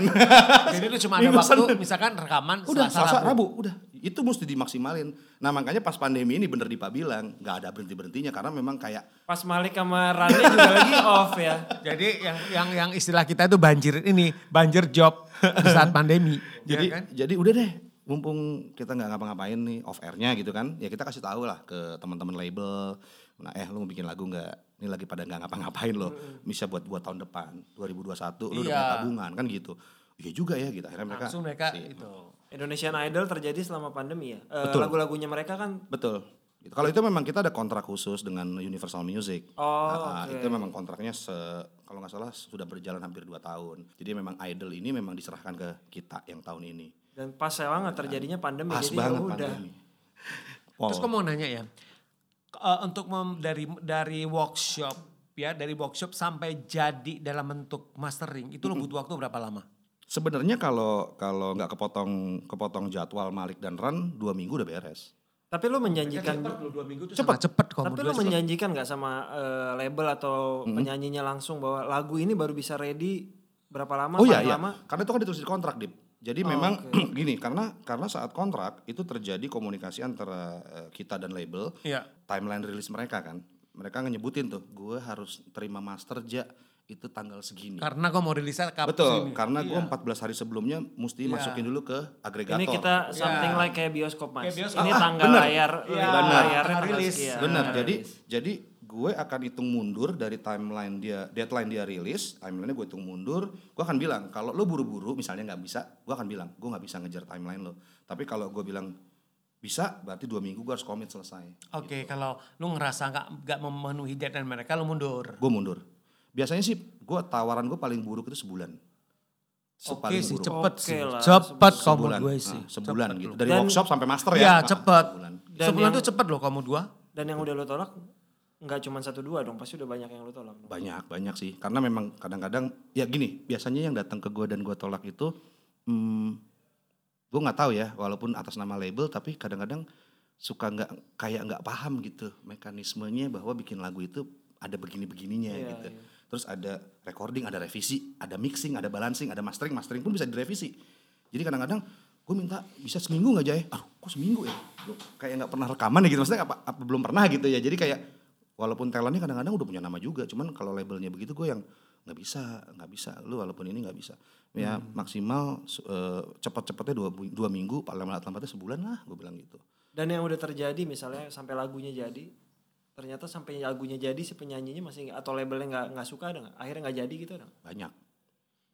S2: jadi lu cuma ada
S3: Minggu
S2: waktu
S3: Senin.
S2: misalkan rekaman
S3: udah
S2: Selasa,
S3: Selasa Rabu. udah. Itu mesti dimaksimalin. Nah, makanya pas pandemi ini bener Dipa bilang, nggak ada berhenti-berhentinya karena memang kayak
S1: Pas Malik sama Rani juga lagi off ya.
S2: Jadi yang yang yang istilah kita itu banjir ini, banjir job di saat pandemi.
S1: Iya
S3: jadi
S2: ya kan?
S3: jadi udah deh mumpung kita nggak ngapa-ngapain nih off airnya gitu kan ya kita kasih tahu lah ke teman-teman label nah eh lu mau bikin lagu nggak ini lagi pada nggak ngapa-ngapain loh bisa buat buat tahun depan 2021 lu udah punya
S2: Iya.
S3: tabungan kan gitu iya juga ya gitu akhirnya mereka
S2: langsung mereka
S3: si-
S2: itu.
S1: Indonesian Idol terjadi selama pandemi ya. Eh,
S3: Betul.
S1: Lagu-lagunya mereka kan
S3: betul gitu. kalau itu memang kita ada kontrak khusus dengan Universal Music
S1: Oh,
S3: Nah, ah,
S1: oke.
S3: itu memang kontraknya se kalau nggak salah sudah berjalan hampir 2 tahun jadi memang Idol ini memang diserahkan ke kita yang tahun ini
S1: dan pas banget terjadinya pandemi
S3: pas
S1: jadi ya
S3: banget
S1: udah.
S3: pandemi Wow.
S2: Terus gue mau nanya ya, k- eh, untuk mem- dari dari workshop ya, dari workshop sampai jadi dalam bentuk mastering itu lo butuh waktu berapa lama?
S3: Sebenarnya kalau kalau nggak kepotong kepotong jadwal Malik dan Ran dua minggu udah beres.
S1: Tapi lu menjanjikan
S2: lo dua minggu itu
S3: Cepet.
S2: cepet cepet kok.
S1: Tapi lu menjanjikan nggak sama eh, label atau penyanyinya langsung bahwa lagu ini baru bisa ready berapa lama?
S3: oh iya
S1: paling
S3: iya.
S1: lama? Oh,
S3: Karena itu kan ditulis di kontrak, Dip. Jadi memang gini, karena karena saat kontrak itu terjadi komunikasi antara eh, kita dan label.
S2: Iya.
S3: Timeline rilis mereka kan. Mereka nyebutin tuh, gue harus terima master ja itu tanggal segini.
S2: Karena gue mau rilisnya kapan
S3: Betul,
S2: ini.
S3: karena gue 14 hari sebelumnya mesti
S2: Iya.
S3: masukin dulu ke agregator.
S1: Iya. Ini kita something
S2: Ya.
S1: like kayak bioskop mas.
S2: Kayak bioskop.
S1: Ini
S3: Ah, ah,
S1: tanggal
S3: bener.
S1: layar,
S2: Iya,
S1: layar Iya.
S2: tanggal rilis.
S3: Benar. Jadi jadi gue akan hitung mundur dari timeline dia deadline dia rilis, timelinenya gue hitung mundur. Gue akan bilang kalau lo buru-buru misalnya nggak bisa, gue akan bilang gue nggak bisa ngejar timeline lo. Tapi kalau gue bilang bisa, berarti dua minggu gue harus komit selesai.
S2: Oke, kalau lu ngerasa nggak nggak memenuhi deadline mereka, lu mundur.
S3: Gue mundur. Biasanya sih gue tawaran gue paling buruk itu sebulan.
S2: Oke
S3: Sepaling
S2: sih,
S3: buruk.
S2: cepet
S1: Oke
S2: sih,
S1: lah,
S2: cepet kalau
S3: sebulan,
S2: menurut gue
S3: Ah,
S2: sih.
S3: sebulan
S2: Cepet
S3: gitu.
S2: loh.
S3: Dari
S1: Dan-
S3: workshop sampai master
S2: Iya,
S3: ya. Ah,
S2: cepet.
S3: sebulan.
S1: Dan
S2: Sebulan
S1: yang-
S2: tuh cepet loh kalau menurut gue.
S1: Dan yang udah lo tolak nggak cuma satu dua dong, pasti udah banyak yang lo tolak. dong.
S3: banyak banyak sih karena memang kadang-kadang ya gini biasanya yang datang ke gue dan gue tolak itu hmm, gue nggak tahu ya walaupun atas nama label tapi kadang-kadang suka nggak kayak nggak paham gitu mekanismenya bahwa bikin lagu itu ada begini-begininya
S1: Iya,
S3: gitu
S1: iya.
S3: terus ada recording ada revisi ada mixing ada balancing ada mastering mastering pun bisa direvisi jadi kadang-kadang gue minta bisa seminggu nggak aja ya aduh kok seminggu ya Lu kayak nggak pernah rekaman ya gitu maksudnya apa, apa belum pernah gitu ya jadi kayak walaupun talentnya kadang-kadang udah punya nama juga cuman kalau labelnya begitu gue yang nggak bisa nggak bisa lu walaupun ini nggak bisa ya maksimal su- eh, cepat-cepatnya dua, bu- dua minggu paling lambat lambatnya sebulan lah gue bilang gitu
S1: Dan yang udah terjadi misalnya sampai lagunya jadi, ternyata sampai lagunya jadi si penyanyinya masih nggak- atau labelnya nggak nggak suka ada nggak? Akhirnya nggak jadi gitu ada nggak?
S3: banyak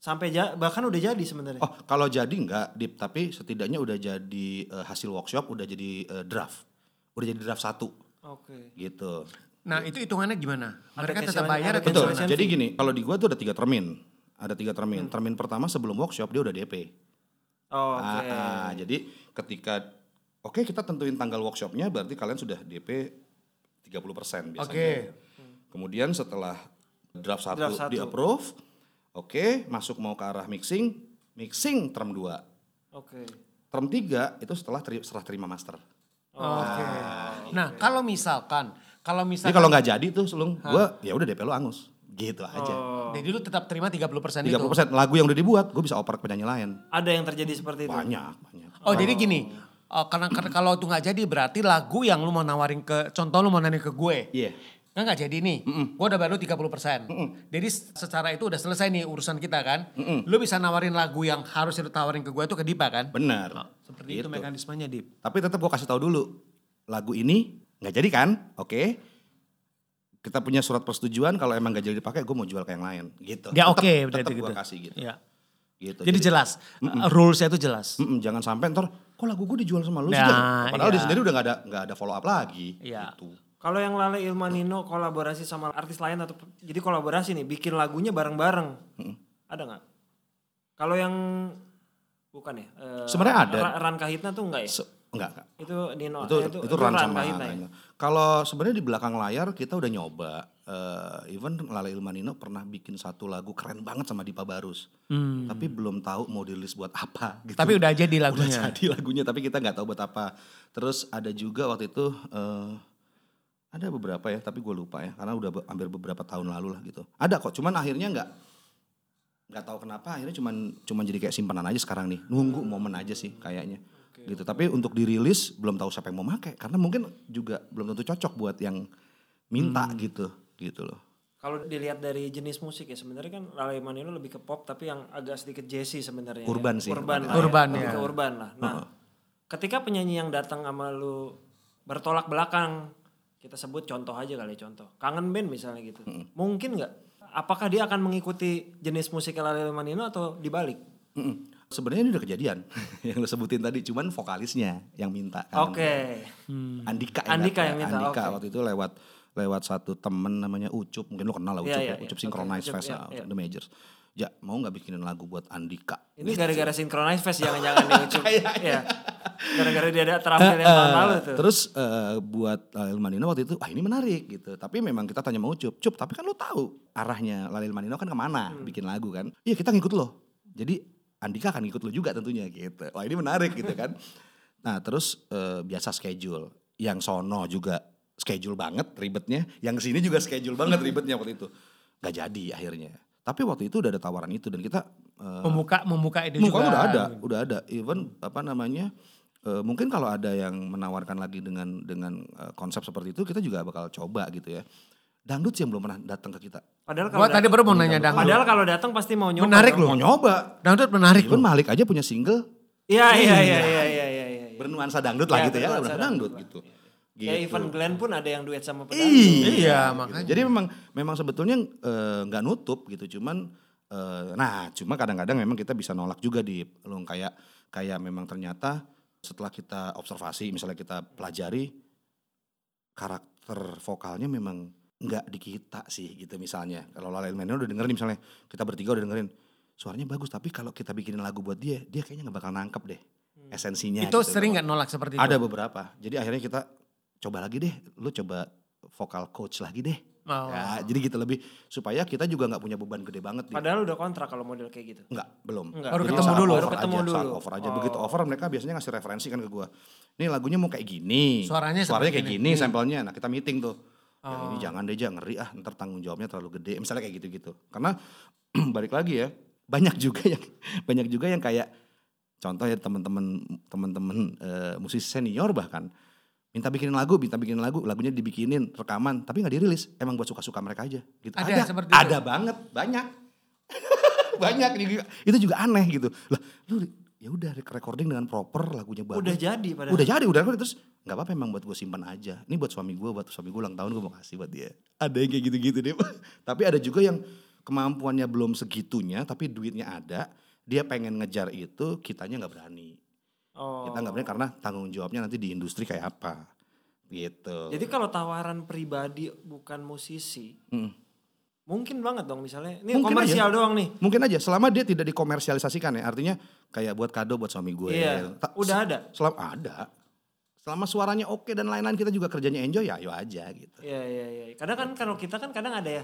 S1: Sampai ja- bahkan udah jadi sebenarnya.
S3: oh kalau jadi nggak dip tapi setidaknya udah jadi eh, hasil workshop udah jadi eh, draft udah jadi draft satu
S1: Oke.
S3: gitu.
S2: Nah itu hitungannya gimana?
S1: Ada
S2: Mereka tetap
S1: cancellation-
S2: bayar
S1: ada
S2: atau
S3: Betul.
S1: Cancellation
S2: gimana?
S3: Jadi
S1: fee.
S3: gini, kalau di gua tuh ada tiga termin. Ada tiga termin. Termin pertama sebelum workshop dia udah DP.
S1: Oh, Hmm. Oke.
S3: Ah, ah, jadi ketika oke kita tentuin tanggal workshopnya berarti kalian sudah DP 30% biasanya.
S2: Oke.
S3: Kemudian setelah draft satu
S1: Hmm. Draft satu.
S3: di approve, oke masuk mau ke arah mixing, mixing term 2.
S1: Oke.
S3: Term 3 itu setelah teri- setelah terima master.
S2: Oke. Nah kalau misalkan, kalau
S3: Jadi
S2: misalkan,
S3: kalau nggak jadi tuh selung gua ya udah DP lo angus. Gitu aja.
S2: jadi lu tetap terima 30% itu?
S3: 30% lagu yang udah dibuat gue bisa oper ke penyanyi lain.
S1: Ada yang terjadi seperti itu.
S3: Hmm. Banyak, banyak.
S2: Oh, jadi gini, eh, karena, karena kalau itu nggak jadi berarti lagu yang lu mau nawarin ke, contoh lu mau nawarin ke gue,
S3: Iya.
S2: kan nggak jadi nih, gue udah baru 30 persen. Jadi secara itu udah selesai nih urusan kita kan, lu bisa nawarin lagu yang harus lu tawarin ke gue itu ke Dipa kan?
S3: Bener.
S2: Seperti itu
S3: Gitu.
S2: mekanismenya Dip.
S3: Tapi tetap gue kasih tahu dulu lagu ini nggak jadi kan? Oke. Kita punya surat persetujuan kalau emang nggak jadi dipakai gue mau jual ke yang lain gitu.
S2: Ya oke, berarti
S3: tetap gue
S2: gitu.
S3: kasih gitu.
S2: Iya.
S3: Gitu.
S2: Jadi jelas, rules-nya itu jelas.
S3: mm-mm, jangan sampai ntar kok lagu gue dijual sama
S2: Nah,
S3: lu sih. Jan?" Padahal
S2: iya.
S3: dia sendiri udah nggak ada nggak ada follow up lagi.
S2: Iya.
S3: Gitu.
S1: Kalau yang Lale Ilmanino kolaborasi sama artis lain atau jadi kolaborasi nih, bikin lagunya bareng-bareng. Ada nggak? Kalau yang bukan ya? eh,
S3: Sebenarnya ada.
S1: Ra- Ran Kahitna tuh enggak ya?
S3: Se- enggak, enggak.
S1: itu Nino.
S3: itu
S1: eh,
S3: Iya, itu, run sama
S1: Kahitna ya?
S3: Raina. Kalau sebenarnya di belakang layar kita udah nyoba. Eh, even Lala Ilmanino pernah bikin satu lagu keren banget sama Dipa Barus. Tapi belum tahu mau dirilis buat apa gitu.
S2: Tapi udah jadi
S3: udah
S2: lagunya.
S3: jadi lagunya tapi kita nggak tahu buat apa terus ada juga waktu itu eh, ada beberapa ya tapi gue lupa ya karena udah be- hampir beberapa tahun lalu lah gitu ada kok cuman akhirnya nggak nggak tahu kenapa akhirnya cuman cuman jadi kayak simpanan aja sekarang nih nunggu momen aja sih kayaknya gitu tapi untuk dirilis belum tahu siapa yang mau make karena mungkin juga belum tentu cocok buat yang minta gitu gitu loh
S1: Kalau dilihat dari jenis musik ya sebenarnya kan Lale Manilo lebih ke pop tapi yang agak sedikit jazzy sebenarnya.
S3: Urban
S1: ya.
S3: sih.
S1: Urban, lah
S2: Urban,
S1: ya. Lebih
S2: ya.
S1: ke urban lah. Nah, ketika penyanyi yang datang sama lu bertolak belakang, kita sebut contoh aja kali contoh. Kangen Band misalnya gitu. Mungkin nggak? Apakah dia akan mengikuti jenis musik Lale Manilo atau dibalik?
S3: Mm-mm. sebenarnya ini udah kejadian yang lo sebutin tadi cuman vokalisnya yang minta kan.
S1: Oke.
S3: Andika
S1: Hmm.
S3: ya,
S1: Andika yang minta,
S3: Andika
S1: oke.
S3: waktu itu lewat lewat satu temen namanya Ucup mungkin lo kenal lah Ucup
S1: Iya,
S3: ya,
S1: iya,
S3: Ucup
S1: iya. Oke,
S3: Synchronize
S1: Ucup,
S3: Fest
S1: iya,
S3: lah,
S1: iya.
S3: The Majors ya mau nggak bikinin lagu buat Andika
S1: Ini gara-gara Synchronize Fest jangan-jangan nih Ucup. Iya. Gara-gara dia ada terampil yang tahun lalu tuh.
S3: Iya. terus eh, buat Lalil Manino waktu itu ah ini menarik gitu tapi memang kita tanya mau Ucup Cup tapi kan lo tahu arahnya Lalil Manino kan kemana bikin lagu kan iya kita ngikut lo jadi Andika akan ngikut lo juga tentunya gitu wah ini menarik gitu kan nah terus eh, biasa schedule yang sono juga schedule banget ribetnya yang sini juga schedule banget ribetnya waktu itu nggak jadi akhirnya tapi waktu itu udah ada tawaran itu dan kita eh,
S2: Memuka memuka itu
S3: Muka
S2: juga.
S3: udah ada, udah ada. Even apa namanya? eh, mungkin kalau ada yang menawarkan lagi dengan dengan eh, konsep seperti itu, kita juga bakal coba gitu ya. Dangdut sih yang belum pernah datang ke kita.
S1: Padahal kalau
S2: Gua tadi baru mau nanya dangdut.
S1: Padahal kalau datang pasti mau nyoba.
S2: Menarik
S1: dong.
S2: loh.
S3: Mau nyoba.
S2: Dangdut menarik
S3: Even
S2: loh.
S3: Malik aja punya single
S1: Iya iya iya iya iya iya. iya.
S3: bernuansa dangdut lah
S1: Iya,
S3: gitu ya,
S1: bernuansa
S3: bernuansa
S1: dangdut
S3: dangdut
S1: lah.
S3: gitu.
S1: Ya even Glenn pun ada yang duet sama pedang.
S3: Iya,
S2: Iya,
S3: gitu.
S2: makanya.
S3: Jadi memang memang sebetulnya eh, nggak nutup gitu, cuman eh, nah cuma kadang-kadang memang kita bisa nolak juga di lo kayak kayak memang ternyata setelah kita observasi, misalnya kita pelajari karakter vokalnya memang nggak di kita sih gitu misalnya. Kalau Lala Ilmennya udah dengerin misalnya kita bertiga udah dengerin suaranya bagus tapi kalau kita bikinin lagu buat dia, dia kayaknya nggak bakal nangkep deh esensinya.
S2: Hmm. Itu
S3: gitu.
S2: sering nggak nolak seperti itu?
S3: Ada beberapa. Jadi akhirnya kita coba lagi deh. Lu coba vokal coach lagi deh.
S2: Oh.
S3: Ya, jadi gitu lebih supaya kita juga nggak punya beban gede banget. gitu. Di.
S1: Padahal udah kontrak kalau model kayak gitu.
S3: Enggak, belum.
S1: Enggak.
S2: Baru
S3: Jadi
S2: ketemu
S3: saat
S2: dulu.
S3: Over
S1: Baru ketemu
S3: aja, saat
S1: dulu. Oh.
S3: over aja. Begitu over mereka biasanya ngasih referensi kan ke gua. Ini lagunya mau kayak gini.
S2: Suaranya seperti Hmm. Oh.
S3: kayak gini sampelnya. Nah, kita meeting tuh. Yang ini jangan deh, jangan ngeri ah, ntar tanggung jawabnya terlalu gede. Misalnya kayak gitu-gitu. Karena balik lagi ya, banyak juga yang banyak juga yang kayak contoh ya teman-teman teman-teman eh, musisi senior bahkan minta bikinin lagu, minta bikinin lagu, lagunya dibikinin rekaman tapi nggak dirilis. Emang buat suka-suka mereka aja gitu.
S2: Ada seperti itu.
S3: ada banget, banyak. banyak di- itu juga aneh gitu. Lah, lu ya udah rec- recording dengan proper lagunya bagus.
S1: Udah jadi padahal.
S3: Udah jadi, udah recording terus nggak apa-apa emang buat gue simpan aja. Ini buat suami gue, buat suami gue ulang tahun gue mau kasih buat dia. Ada yang kayak gitu-gitu deh. tapi ada juga yang kemampuannya belum segitunya tapi duitnya ada, dia pengen ngejar itu, kitanya nggak berani
S1: Oh.
S3: kita nggak berani karena tanggung jawabnya nanti di industri kayak apa gitu.
S1: Jadi kalau tawaran pribadi bukan musisi,
S3: Mm.
S1: mungkin banget dong misalnya. Ini
S3: Mungkin
S1: komersial doang nih.
S3: Mungkin aja selama dia tidak dikomersialisasikan ya, artinya kayak buat kado buat suami gue.
S1: Iya,
S3: Ta-
S1: udah ada.
S3: Selama ada. Selama suaranya oke dan lain-lain kita juga kerjanya enjoy ya, ayo aja gitu.
S1: Iya iya iya. Kadang kan kalau kita kan kadang ada ya.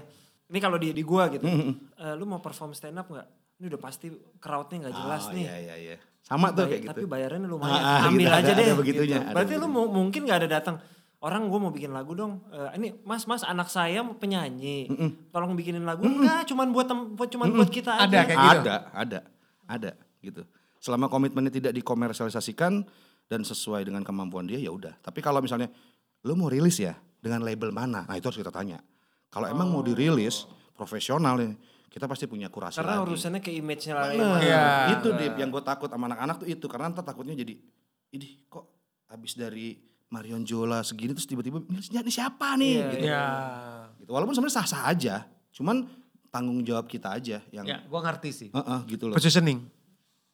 S1: Ini kalau di di gua gitu. Eh, lu mau perform stand up nggak? Ini udah pasti crowdnya nggak jelas
S3: Oh,
S1: nih.
S3: Iya iya iya. Sama tuh
S1: Bay-
S3: kayak
S1: Tapi
S3: gitu.
S1: bayarannya lumayan.
S3: Ah, ah,
S1: Ambil
S3: gitu, ada-
S1: aja
S3: ada
S1: deh.
S3: begitunya, ada
S1: Berarti lu mu- mungkin nggak ada datang. Orang gue mau bikin lagu dong. Eh, ini mas mas anak saya mau penyanyi. Tolong bikinin lagu. Enggak, cuman buat tem- buat- cuman buat kita
S2: Ada
S1: aja.
S2: kayak gitu.
S3: Ada, ada, ada gitu. Selama komitmennya tidak dikomersialisasikan dan sesuai dengan kemampuan dia ya udah. Tapi kalau misalnya lu mau rilis ya dengan label mana? Nah, itu harus kita tanya. Kalau emang
S1: Oh.
S3: mau dirilis profesional nih, kita pasti punya
S2: gitu
S3: kurasi
S1: Karena
S3: lagi.
S1: urusannya ke image-nya lagi.
S3: Nah,
S2: Iya.
S3: itu Dip, yang gue takut sama anak-anak tuh itu karena ntar takutnya jadi ini kok habis dari Marion Jola segini terus tiba-tiba ini si- ini siapa nih
S1: Iya,
S3: gitu.
S2: Ya,
S3: Gitu. Walaupun sebenarnya sah-sah aja, cuman tanggung jawab kita aja yang
S2: ya gue ngerti sih.
S3: Heeh, gitu loh.
S2: Positioning.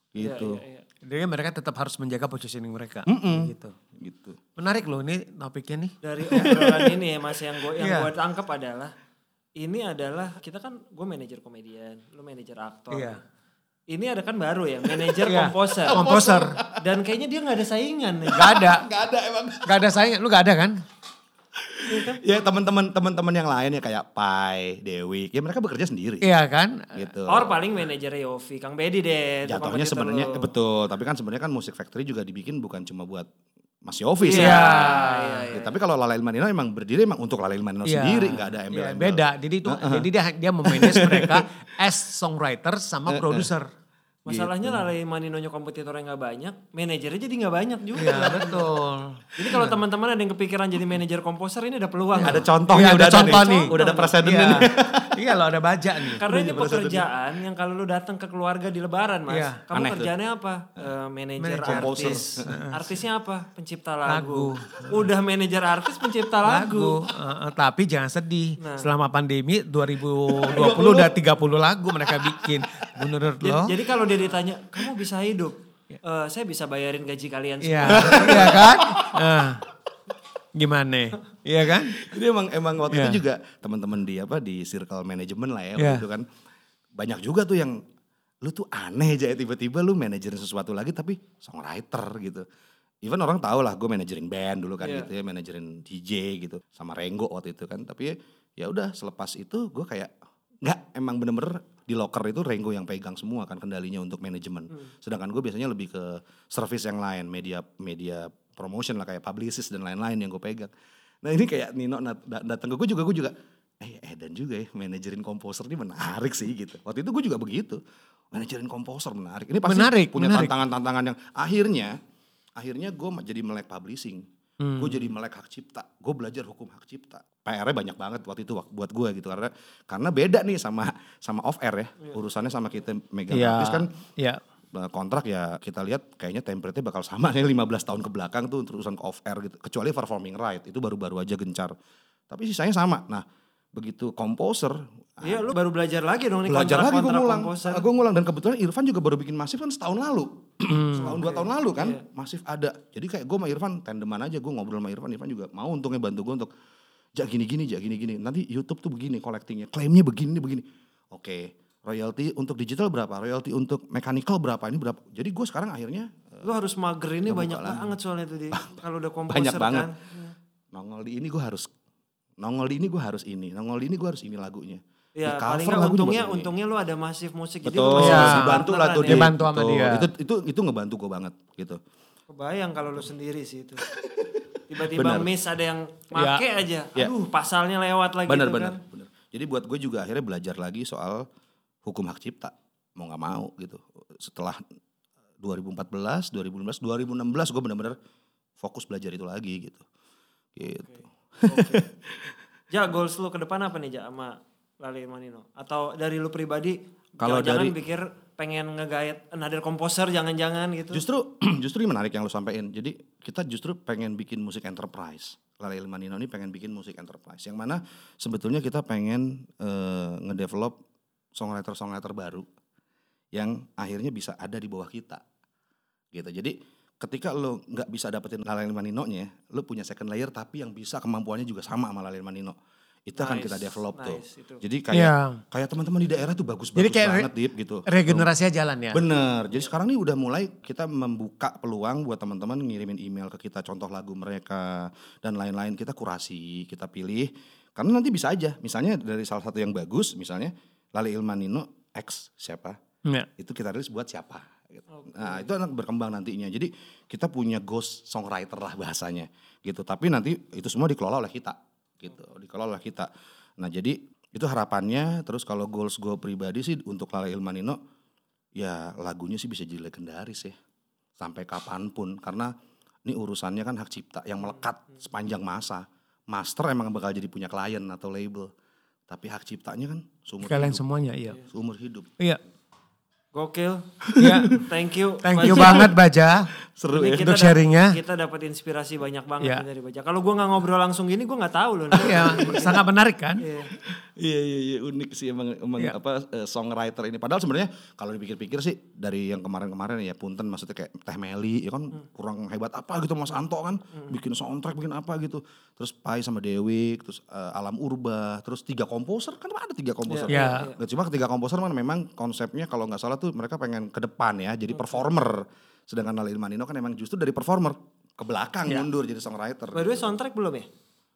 S3: Gitu.
S1: Iya. Iya, iya.
S2: Jadi mereka tetap harus menjaga positioning mereka. Gitu.
S3: Gitu.
S2: Menarik loh ini topiknya nih.
S1: Dari obrolan ini ya mas yang gue yang
S2: Iya.
S1: gua tangkap adalah ini adalah kita kan gue manajer komedian, lu manajer aktor.
S2: Iya.
S1: Ini ada kan baru ya manajer
S2: Iya.
S1: komposer.
S2: Komposer.
S1: Dan kayaknya dia nggak ada saingan nih.
S2: Gak ada. Gak ada emang. Gak ada saingan. Lu gak ada kan?
S3: Ya teman-teman teman-teman yang lain ya kayak Pai, Dewi, ya mereka bekerja sendiri.
S2: Iya kan?
S3: Gitu.
S1: Or paling manajer Yofi, Kang Bedi deh. itu
S3: Jatuhnya
S1: kompetitor
S3: sebenarnya
S1: lu.
S3: eh, betul, tapi kan sebenarnya kan Music Factory juga dibikin bukan cuma buat Mas Yofi
S1: Iya,
S3: sebenarnya.
S1: iya,
S3: Ya, tapi kalau Lala Ilmanino emang berdiri emang untuk Lala Ilmanino
S2: Iya.
S3: sendiri nggak ada
S2: Iya,
S3: embel-embel.
S2: beda. Jadi itu jadi dia dia memanage mereka as songwriter sama produser.
S1: Masalahnya Lale Maninonya kompetitornya nggak banyak, manajernya jadi nggak banyak juga.
S2: Iya betul.
S1: Jadi kalau teman-teman ada yang kepikiran jadi manajer komposer ini ada peluang. loh.
S3: Ada
S2: Iya,
S3: contohnya
S2: ada
S3: udah
S2: contoh
S3: ada nih.
S2: nih.
S3: Udah ada presedennya
S2: Iya.
S3: nih.
S2: Iya loh ada baja nih.
S1: Karena ini pekerjaan yang kalau lu datang ke keluarga di lebaran mas,
S2: Iya.
S1: kamu
S3: Aneh tuh.
S1: kerjanya apa? Eh, manajer
S2: Manajer.
S1: artis.
S3: Composer.
S1: Artisnya apa? Pencipta lagu. Udah manajer artis pencipta
S2: lagu.
S1: lagu.
S2: Eh, eh, tapi jangan sedih.
S1: Nah.
S2: Selama pandemi 2020 udah 30 lagu mereka bikin. Menurut
S1: Ja-
S2: lo?
S1: Jadi kalau dia ditanya, kamu bisa hidup? Eh, saya bisa bayarin gaji kalian
S2: Iya,
S1: semua.
S2: iya kan? Eh, gimana? Iya kan?
S3: Jadi emang emang waktu
S2: Iya.
S3: itu juga teman-teman di apa di circle manajemen lah ya
S2: Iya.
S3: waktu itu kan banyak juga tuh yang lu tuh aneh aja ya, tiba-tiba lu manajerin sesuatu lagi tapi songwriter gitu. Even orang tau lah gue manajerin band dulu kan
S1: Iya.
S3: gitu ya, manajerin DJ gitu sama Renggo waktu itu kan. Tapi ya udah selepas itu gue kayak nggak emang bener-bener di locker itu Renggo yang pegang semua kan kendalinya untuk manajemen. Sedangkan gue biasanya lebih ke service yang lain, media media promotion lah kayak publicist dan lain-lain yang gue pegang. Nah ini kayak Nino nat- da- datang ke gue juga, gue juga eh eh dan juga ya manajerin komposer ini menarik sih gitu. Waktu itu gue juga begitu. Manajerin komposer menarik. Ini pasti
S2: Menarik,
S3: punya
S2: menarik.
S3: tantangan-tantangan yang akhirnya akhirnya gue jadi melek publishing.
S2: Hmm.
S3: Gue jadi melek hak cipta. Gue belajar hukum hak cipta. PR-nya banyak banget waktu itu wak- buat gue gitu karena karena beda nih sama sama off air ya. Urusannya sama kita megang artis kan
S2: Iya.
S3: Nah, kontrak ya kita lihat kayaknya template-nya bakal sama nih 15 tahun ke belakang tuh untuk urusan ke off air gitu. Kecuali performing right itu baru-baru aja gencar. Tapi sisanya sama. Nah, begitu komposer
S1: Iya, lu baru belajar lagi dong nih
S3: belajar lagi gue
S1: kontrak-kontrak
S3: ngulang.
S1: komposer.
S3: Gue ngulang dan kebetulan Irfan juga baru bikin Masif kan setahun lalu.
S1: Hmm.
S3: setahun dua tahun lalu
S1: Iya.
S3: kan Masif ada. Jadi kayak gue sama Irfan tandeman aja gue ngobrol sama Irfan. Irfan juga mau untungnya bantu gue untuk jak gini-gini, jak gini-gini. Nanti YouTube tuh begini collectingnya, klaimnya begini begini. Oke, royalti untuk digital berapa? Royalti untuk mechanical berapa? Ini berapa? Jadi gue sekarang akhirnya
S1: Lu harus mager ini banyak banget soalnya tuh di kalau udah komposer
S3: banyak banget.
S1: kan.
S3: Nongol di ini gue harus nongol di ini gue harus ini, nongol di ini gue harus ini lagunya.
S1: Ya
S3: Di
S1: paling
S3: cover
S1: nggak
S3: lagu juga
S1: untungnya
S3: ini.
S1: untungnya lu ada masif musik gitu
S3: Betul,
S2: Iya.
S3: dibantu lah tuh
S1: ya.
S2: Dia
S3: Dip.
S2: bantu sama
S3: Betul.
S2: dia.
S3: Itu itu itu ngebantu gue banget gitu.
S1: Kebayang kalau lu sendiri sih itu. Tiba-tiba
S3: Benar.
S1: miss ada yang make aja.
S3: Ya.
S1: Aduh, pasalnya lewat lagi
S3: Benar
S1: tuh
S3: benar
S1: kan.
S3: benar. Jadi buat gue juga akhirnya belajar lagi soal hukum hak cipta mau nggak mau gitu. Setelah 2014, 2015, 2016 gue benar-benar fokus belajar itu lagi gitu. Gitu.
S1: Oke. ja, goals lu ke depan apa nih Ja sama Lale Manino? Atau dari lu pribadi
S3: Kalau
S1: jangan
S3: dari-
S1: pikir pengen ngegayat another composer jangan-jangan gitu.
S3: Justru justru ini menarik yang lo sampein. Jadi kita justru pengen bikin musik enterprise. Lala Ilmanino ini pengen bikin musik enterprise. Yang mana sebetulnya kita pengen eh, ngedevelop songwriter-songwriter baru yang akhirnya bisa ada di bawah kita. Gitu. Jadi ketika lo nggak bisa dapetin Lalen Manino-nya, lo punya second layer tapi yang bisa kemampuannya juga sama sama Lalen Manino. Itu akan
S1: Nice,
S3: kita develop tuh.
S1: nice, itu.
S3: Jadi kayak
S2: Iya.
S3: kayak teman-teman di daerah tuh bagus
S2: Jadi
S3: bagus
S2: kayak re-
S3: banget Dip gitu.
S2: Regenerasinya jalan ya.
S3: Bener. Jadi sekarang nih udah mulai kita membuka peluang buat teman-teman ngirimin email ke kita contoh lagu mereka dan lain-lain kita kurasi, kita pilih. Karena nanti bisa aja, misalnya dari salah satu yang bagus, misalnya Lali Ilmanino X siapa,
S2: Iya.
S3: itu kita rilis buat siapa. gitu.
S1: Oke.
S3: Nah itu anak berkembang nantinya. Jadi kita punya ghost songwriter lah bahasanya gitu. Tapi nanti itu semua dikelola oleh kita gitu. Dikelola oleh kita. Nah jadi itu harapannya. Terus kalau goals gue pribadi sih untuk Lala Ilmanino ya lagunya sih bisa jadi legendaris ya. Sampai kapanpun. Karena ini urusannya kan hak cipta yang melekat sepanjang masa. Master emang bakal jadi punya klien atau label. Tapi hak ciptanya kan seumur
S2: Kalian
S3: hidup.
S2: semuanya iya.
S3: Seumur hidup.
S2: Iya.
S1: Gokil.
S2: Iya.
S1: Thank you.
S2: Thank you
S1: Baja.
S2: banget Baja.
S3: Seru
S1: Ini
S3: ya.
S1: kita
S2: untuk
S1: dap-
S2: sharingnya.
S1: Kita dapat inspirasi banyak banget
S2: Iya.
S1: dari Baja. Kalau gua nggak ngobrol langsung gini gua nggak tahu loh.
S2: Iya, sangat menarik kan?
S1: Iya.
S3: Iya iya iya unik sih emang emang
S2: Iya.
S3: apa eh, songwriter ini. Padahal sebenarnya kalau dipikir-pikir sih dari yang kemarin-kemarin ya Punten maksudnya kayak Teh Meli ya kan kurang hebat apa gitu Mas Anto kan bikin soundtrack bikin apa gitu. Terus Pai sama Dewi, terus eh, Alam Urba, terus tiga komposer kan ada tiga komposer.
S2: Iya.
S3: Nggak, Cuma ketiga komposer kan memang konsepnya kalau nggak salah tuh mereka pengen ke depan ya jadi performer. Sedangkan Lali Manino kan emang justru dari performer ke belakang mundur jadi songwriter.
S1: By the way soundtrack belum ya?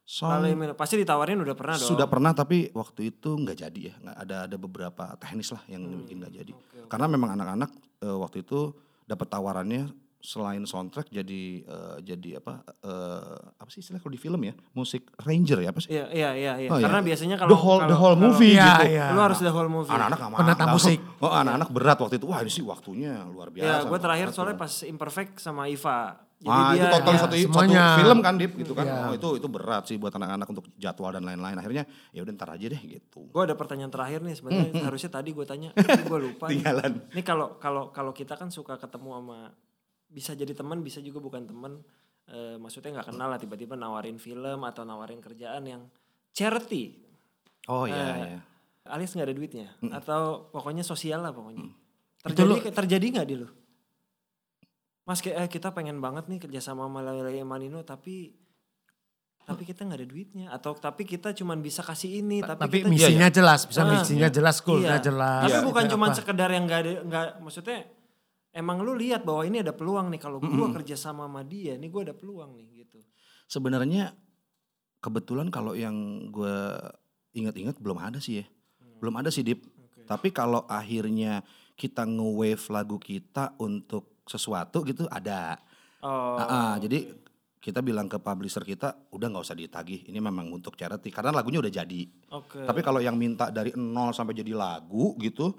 S3: Song-
S1: Kalau Emil- Pasti ditawarin udah pernah dong.
S3: sudah pernah tapi waktu itu nggak jadi ya nggak ada ada beberapa teknis lah yang
S1: Hmm,
S3: bikin nggak jadi karena memang anak-anak eh, waktu itu dapat tawarannya selain soundtrack jadi eh, jadi apa eh, apa sih istilah kalau di film ya musik ranger ya apa sih
S1: Iya, iya, iya. iya.
S3: Oh, iya.
S1: Karena biasanya kalau
S3: the whole the
S1: kalau-
S3: whole
S1: kalau-
S3: movie
S2: Iya,
S3: gitu
S2: iya.
S1: Lu harus the whole movie. Iya,
S3: anak-anak nggak mau
S2: Penata musik.
S3: oh anak-anak berat waktu itu wah ini sih waktunya luar biasa
S1: Ya, gue
S3: luar
S1: Iya. terakhir
S3: biasa.
S1: soalnya pas Imperfect sama Iva.
S3: Wah itu total
S1: ya,
S3: satu, satu
S2: semuanya.
S3: film kan Dip gitu kan.
S2: Iya.
S3: Oh, itu itu berat sih buat anak-anak untuk jadwal dan lain-lain. Akhirnya ya udah ntar aja deh gitu.
S1: Gue ada pertanyaan terakhir nih sebenarnya harusnya tadi gue tanya, tapi gue lupa. nih.
S3: Tinggalan.
S1: Ini kalau kalau kalau kita kan suka ketemu sama bisa jadi teman, bisa juga bukan teman. Eh, maksudnya nggak kenal lah tiba-tiba nawarin film atau nawarin kerjaan yang charity
S3: Oh iya
S1: Eh,
S3: iya.
S1: alias nggak ada duitnya atau pokoknya sosial lah pokoknya.
S2: Itu
S1: Terjadi
S2: lu-
S1: terjadi nggak di lu? Mas kayak eh, kita pengen banget nih kerjasama sama Lele Manino tapi tapi kita nggak ada duitnya atau tapi kita cuman bisa kasih ini tapi,
S2: Tapi
S1: kita
S2: misinya
S3: Iya,
S2: jelas, bisa
S1: Ah,
S2: misinya jelas, goalnya
S1: Iya.
S2: jelas.
S1: Tapi
S2: Iya.
S1: bukan
S2: Apa.
S1: cuma sekedar yang nggak ada nggak maksudnya emang lu lihat bahwa ini ada peluang nih kalau gua kerja sama sama dia nih gua ada peluang nih gitu.
S3: Sebenarnya kebetulan kalau yang gue ingat-ingat belum ada sih ya. Belum ada sih Dip.
S1: Hmm. Oke.
S3: Tapi kalau akhirnya kita nge-wave lagu kita untuk sesuatu gitu ada.
S1: Oh.
S3: Ah, ah, jadi kita bilang ke publisher kita udah nggak usah ditagih. Ini memang untuk charity karena lagunya udah jadi.
S1: Oke.
S3: Tapi kalau yang minta dari nol sampai jadi lagu gitu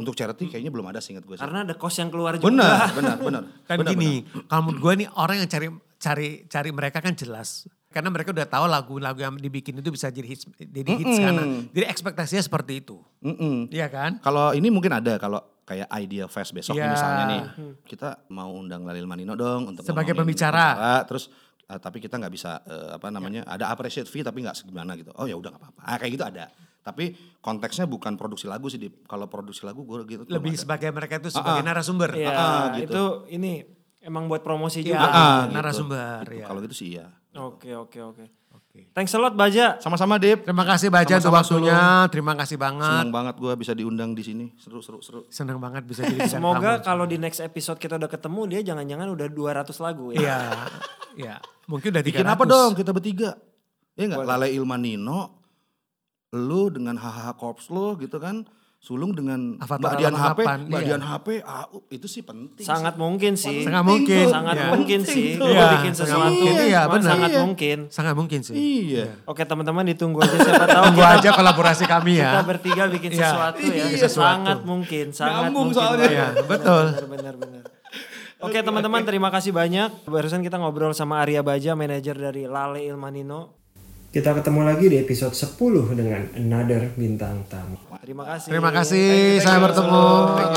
S3: untuk charity kayaknya belum ada seingat gue sih.
S1: Hmm. Karena ada kos yang keluar juga.
S3: Benar, benar, benar.
S2: Kan
S3: Benar,
S2: gini, kalau menurut gue nih orang yang cari cari cari mereka kan jelas. Karena mereka udah tahu lagu-lagu yang dibikin itu bisa jadi hits, jadi hits
S3: Mm-mm.
S2: karena jadi ekspektasinya seperti itu.
S3: benar. Mm-mm.
S2: Iya kan?
S3: Kalau ini mungkin ada kalau kayak Idea Fest besok
S2: Iya.
S3: misalnya nih. Kita mau undang Lalil Manino dong untuk
S2: Sebagai
S3: ngomongin
S2: pembicara. Iya.
S3: terus eh, tapi kita nggak bisa eh, apa namanya? Ada appreciate fee tapi nggak segimana gitu. Oh ya udah nggak apa-apa. Ah, kayak gitu ada. Tapi konteksnya bukan produksi lagu sih. Dip. Kalau produksi lagu gue gitu belum
S2: Lebih
S3: ada.
S2: sebagai mereka itu sebagai narasumber.
S1: Iya,
S3: Ah, ah, gitu.
S1: itu ini emang buat promosi juga.
S2: Iya,
S3: ah, gitu.
S2: narasumber
S3: Gitu.
S2: ya.
S3: Kalau gitu sih iya.
S1: Oke, oke, oke.
S2: Oke.
S1: Thanks a lot Baja.
S3: Sama-sama Dip.
S2: Terima kasih Baja untuk
S3: Sama-sama,
S2: waktunya, terima kasih banget.
S3: Senang banget gue bisa diundang di sini. Seru seru seru.
S2: Senang banget bisa jadi bintang
S1: Semoga
S2: tamu.
S1: kalau di next episode kita udah ketemu dia jangan-jangan udah 200 lagu ya.
S2: Iya. Iya. Mungkin udah 300.
S3: Bikin apa dong kita bertiga? Iya nggak? Lale Ilmanino, lu dengan HHH Corps lu gitu kan, Sulung dengan
S2: Avatar
S3: Mbak Dian HP,
S2: 88,
S3: Mbak
S2: iya.
S3: Dian HP, ah, uh, itu sih penting.
S1: Sangat mungkin sih.
S2: Sangat mungkin.
S1: Sangat
S2: Iya.
S1: mungkin
S3: Penting
S1: sih.
S3: tuh.
S1: Lu
S2: Iya,
S1: bikin
S2: sangat
S1: sesuatu.
S2: mungkin. Iya,
S1: cuma
S2: benar.
S1: sangat
S3: Iya.
S1: mungkin.
S2: Sangat mungkin sih.
S3: Iya.
S1: Oke teman-teman ditunggu aja siapa tahu
S2: Tunggu
S1: kita,
S2: aja kolaborasi kami
S1: kita
S2: ya.
S1: bertiga bikin
S2: Iya.
S1: sesuatu ya.
S2: Iya.
S1: Sangat mungkin, sangat
S3: Nyambung
S1: mungkin.
S3: soalnya.
S1: banget.
S2: Iya,
S1: Benar,
S2: betul.
S1: Benar, benar, benar. Oke teman-teman terima kasih banyak. Barusan kita ngobrol sama Arya Baja, manajer dari Lale Ilmanino.
S4: Kita ketemu lagi di episode 10 dengan Another Bintang Tamu.
S1: Terima kasih.
S2: Terima kasih, sampai bertemu.